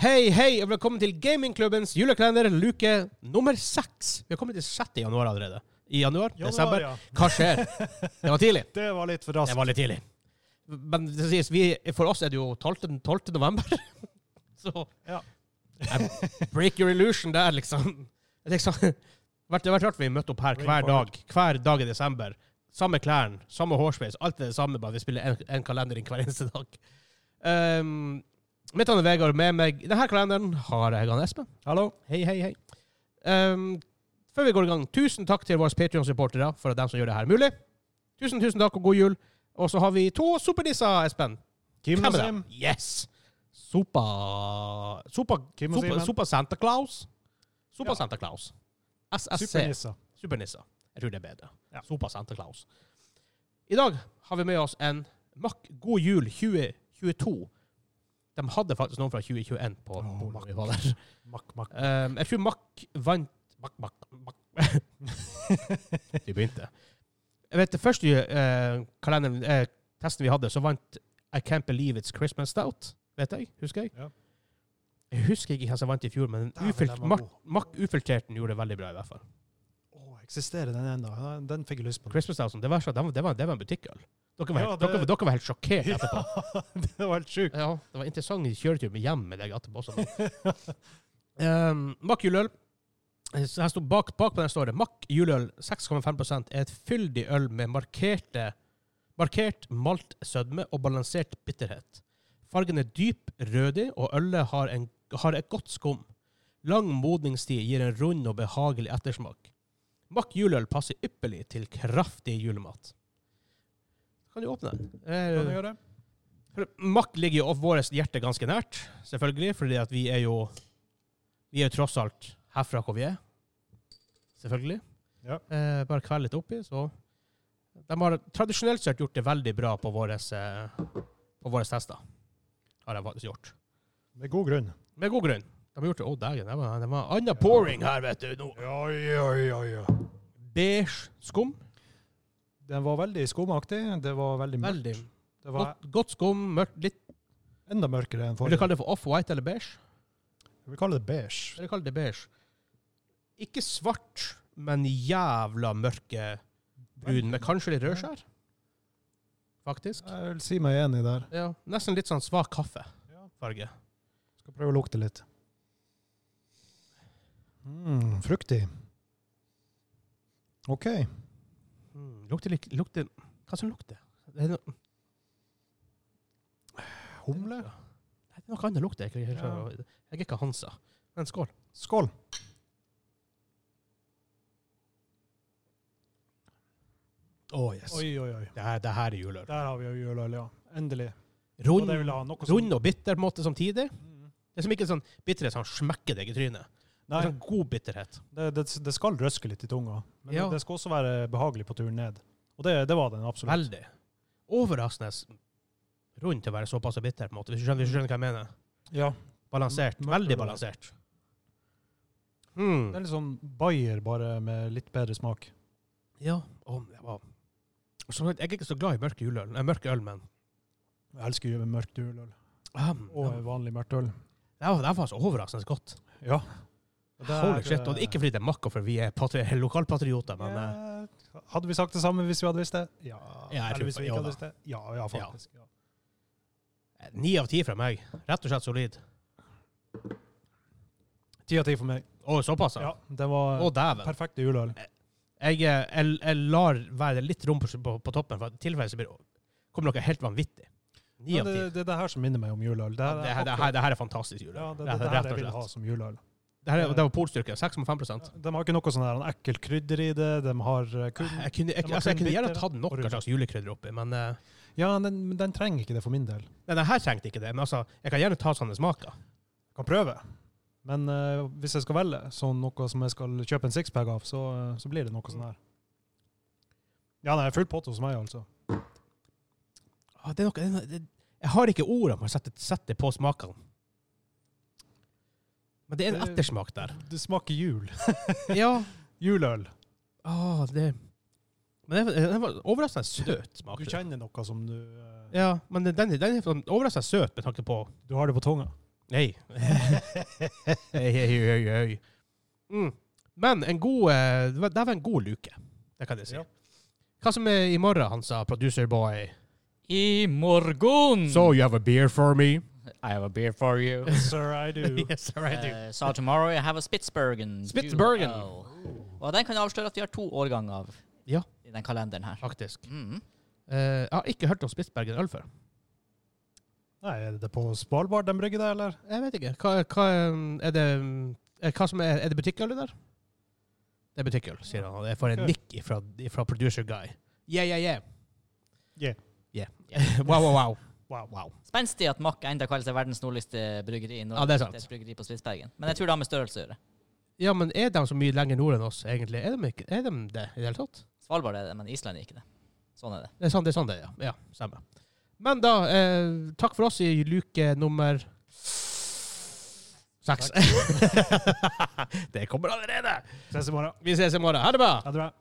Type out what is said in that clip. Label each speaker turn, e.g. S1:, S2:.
S1: Hei, hei, og velkommen til Gamingklubbens julekalender luke nummer seks. Vi har kommet til 6. januar allerede. I januar?
S2: Januar,
S1: desember?
S2: ja.
S1: Hva skjer? Det var tidlig.
S2: Det var litt for raskt.
S1: Det var litt tidlig. Men det sies, vi, for oss er det jo 12. 12. november. Så
S2: Ja.
S1: Nei, Break your illusion der, liksom. Det er liksom- det har vært rart vi møtte opp her
S2: Bring
S1: hver
S2: forward.
S1: dag, hver dag i desember. Samme klærne, samme hårsveis. Alt er det samme, bare vi spiller en, en kalender inn hver eneste dag. Um, mitt navn er Vegard. Med meg denne kalenderen har jeg han Espen.
S2: Hallo.
S1: Hei, hei, hei. Ehm, før vi går i gang, tusen takk til våre Patreon-supportere for dem som gjør det her mulig. Tusen, tusen takk og god jul. Og så har vi to supernisser, Espen.
S2: Kim og
S1: Hvem er
S2: Sim.
S1: det? Yes! Sopa Sopa,
S2: Kim og
S1: sopa,
S2: Simen.
S1: sopa Santa Claus. Sopa
S2: Ja.
S1: Santa Claus. SSC.
S2: Supernisser.
S1: Supernisser. Jeg tror det er bedre.
S2: Ja.
S1: Sopa Santa Claus. I dag har vi med oss en Mack God jul 2022. De hadde faktisk noen fra 2021 på
S2: Åh,
S1: bordet. når vi
S2: Mack.
S1: var der.
S2: Makk, makk.
S1: Um, jeg tror Mack vant Mack, Mack, Mack. De begynte. Jeg vet, det første eh, kalenderen, eh, testen vi hadde, så vant I Can't Believe It's Christmas Stout. Vet jeg, husker jeg.
S2: Ja.
S1: Jeg husker ikke hvem som vant i fjor, men
S2: Dæven,
S1: ufilt,
S2: den var
S1: Mack,
S2: god.
S1: Mack Ufilterten gjorde det veldig bra, i hvert fall.
S2: Å, eksisterer den ennå? Ja, Den fikk jeg lyst på.
S1: Christmas Stout, det var, så- det var, det var, det var en butikkøl. Dere var,
S2: Ja,
S1: helt,
S2: det-
S1: dere, dere var helt sjokkert etterpå.
S2: det var helt sjukt.
S1: Ja, det var interessant i kjøretur med hjem med deg etterpå. Også. um, Mack juleøl. Så her står bak, bak på den står det Mack juleøl 6,5 er et fyldig øl med markerte, markert malt sødme og balansert bitterhet. Fargen er dyp rødig, og ølet har, en, har et godt skum. Lang modningstid gir en rund og behagelig ettersmak. Mack juleøl passer ypperlig til kraftig julemat. Kan du åpne den? Eh,
S2: Kan du gjøre det?
S1: for Mack ligger jo vårt hjerte ganske nært, selvfølgelig, fordi at vi er jo Vi er jo tross alt herfra hvor vi er. Selvfølgelig.
S2: Ja.
S1: Eh, bare kveld litt oppi, så De har tradisjonelt sett gjort det veldig bra på våre eh, på våre tester. Har de faktisk gjort.
S2: Med god grunn.
S1: Med god grunn. De har gjort det Å, dægen. Det var, det var anna pouring her, vet du. nå.
S2: Oi, oi, oi, oi.
S1: Beige skum.
S2: Den var veldig skumaktig. Det var veldig mørkt.
S1: Veldig
S2: Det var
S1: godt, godt skum. Mørkt. Litt
S2: enda mørkere enn
S1: Vil du
S2: forrige.
S1: kalle det for off-white eller beige?
S2: Vi kaller det beige.
S1: Eller kall det beige. Ikke svart, men jævla mørke brun, med kanskje litt rødskjær. Faktisk.
S2: Jeg vil si meg enig der.
S1: Ja, nesten litt sånn svak
S2: Ja.
S1: kaffefarge.
S2: Skal prøve å lukte litt. Mm, fruktig. OK.
S1: Mm, lukter litt lukter, Hva som lukter? Det er, no,
S2: Humle?
S1: det er noe annet lukter. Jeg, jeg,
S2: Ja.
S1: jeg, jeg er ikke Hansa. Men skål.
S2: Skål.
S1: Oh, yes.
S2: Oi, oi, oi.
S1: Det, her, det her er juleøl.
S2: Der har vi jo juleøl, ja. Endelig. Og
S1: Rund,
S2: det vil jeg ha noe som-
S1: rund og bitter på en måte samtidig.
S2: Mm.
S1: Det er som ikke sånn bitterhet som smekker deg i trynet. Det
S2: Nei,
S1: er sånn god bitterhet.
S2: det, det, det skal røske litt i tunga. Men
S1: Ja.
S2: det skal også være behagelig på turen ned. Og det, det var den absolutt.
S1: Veldig. Overraskende rund til å være såpass bitter, på en måte. Hvis du skjønner, hvis du skjønner hva jeg mener.
S2: Ja.
S1: Balansert.
S2: Mørkt
S1: Veldig
S2: og
S1: balansert.
S2: Det
S1: Mm.
S2: er litt sånn Bayer, bare med litt bedre smak.
S1: Ja. Å, det var Som sagt, jeg er ikke så glad i mørk juleøl, nei, mørk øl, men
S2: Jeg elsker jo mørkt juleøl.
S1: um,
S2: Og vanlig mørkt øl.
S1: det var, det var faktisk overraskende godt.
S2: Ja.
S1: Holy shit. Og det er ikke fordi det er makka, for vi er patri lokalpatrioter, men eh,
S2: ja, Hadde vi sagt det samme hvis vi hadde visst det? Ja.
S1: Ja, jeg tror
S2: Eller hvis
S1: på-
S2: vi
S1: ja da.
S2: ikke hadde visst det? Ja, ja, faktisk. Ja.
S1: eh, ni av ti fra meg. Rett og slett solid.
S2: Ti av ti for meg.
S1: Å, såpass, ja.
S2: Ja, det var
S1: Å, dæven.
S2: perfekt juleøl.
S1: Jeg, eh, jeg, jeg lar være litt rom på, på, på toppen, for i tilfelle så blir, kommer noe helt vanvittig. Ni
S2: Men
S1: av
S2: Det,
S1: ti.
S2: det er det her som minner meg om juleøl. Det
S1: Ja,
S2: her
S1: Det
S2: er
S1: her, det, her, det her er fantastisk
S2: akkurat-
S1: jule.
S2: ja, det,
S1: det
S2: det,
S1: her er rett
S2: det her
S1: og
S2: jeg vil
S1: slett.
S2: ha som juleøl.
S1: Det, her, er- det var polstyrke. 6,5
S2: De har ikke noe sånn der ekkelt krydder i det. De har eh, kun
S1: jeg kunne, jeg,
S2: Den var
S1: altså, jeg
S2: kun
S1: kunne gjerne
S2: bitter
S1: tatt
S2: og
S1: noe
S2: rund.
S1: slags julekrydder oppi, men eh,
S2: Ja, den, men den trenger ikke det for min del.
S1: Nei, den her trengte ikke det. Men altså, jeg kan gjerne ta sånne smaker.
S2: Jeg kan prøve. Men eh, hvis jeg skal velge sånn noe som jeg skal kjøpe en sixpack av, så, eh, så blir det noe sånn her. Ja, nei, full pott hos meg, altså.
S1: Ah, det er noe, det er noe, det, jeg har ikke ordene for å sette, sette på smakene. Men det er en
S2: Det-
S1: ettersmak der.
S2: Det smaker jul.
S1: Ja.
S2: Juleøl.
S1: Ah, det Men den, den var overraskende søt smak.
S2: Du kjenner noe som du eh,
S1: Ja, men den, den, den er sånn overraskende søt med tanke på
S2: Du har det på tunga.
S1: Nei. Hei, hei, hei, hei. Mm. Men en god, eh, det var- det var en god luke, det kan jeg si.
S2: Ja.
S1: Hva som er i morgen, han sa, producer boy?
S3: I morgen!
S1: So you have a beer for me?
S3: I have a beer for you.
S2: Sir, I do.
S1: yes, all right, dude.
S3: Eh, so tomorrow I have a Spitsbergen.
S1: Spitsbergen.
S3: Duo. Og den kan jeg avsløre at vi har to årganger av
S1: Ja.
S3: i den kalenderen her.
S1: Faktisk.
S3: Mm.
S1: Eh, jeg har ikke hørt om Spitsbergen øl før.
S2: Nei, er det på Svalbard de brygger det, eller?
S1: Jeg vet ikke. Hva, hva, eh, er, det, eh, hva som er, er det butikkøl det der? Det er butikkøl, sier han. Og Jeg får en
S2: Ok.
S1: nikk fra, fra producer guy. Yeah, yeah, yeah.
S2: Yeah.
S1: Yeah. wow, wow, wow.
S2: Wow.
S3: Spenstig at Mack enda kaller seg verdens nordligste bryggeri. i Norge.
S1: Ja, det er sant.
S3: et bryggeri på Spitsbergen. Men jeg tror det har med størrelse å gjøre.
S1: Ja, men er de så mye lenger nord enn oss, egentlig? Er de, ikke, er de det i det hele tatt?
S3: Svalbard er det, men Island er ikke det. Sånn er det.
S1: Det er sånn det er, sånn det er, ja. ja stemmer. Men da, eh, takk for oss i luke nummer Seks. det kommer allerede!
S2: Ses i morgen.
S1: Vi ses i morgen. Ha det bra!
S2: Ha det bra.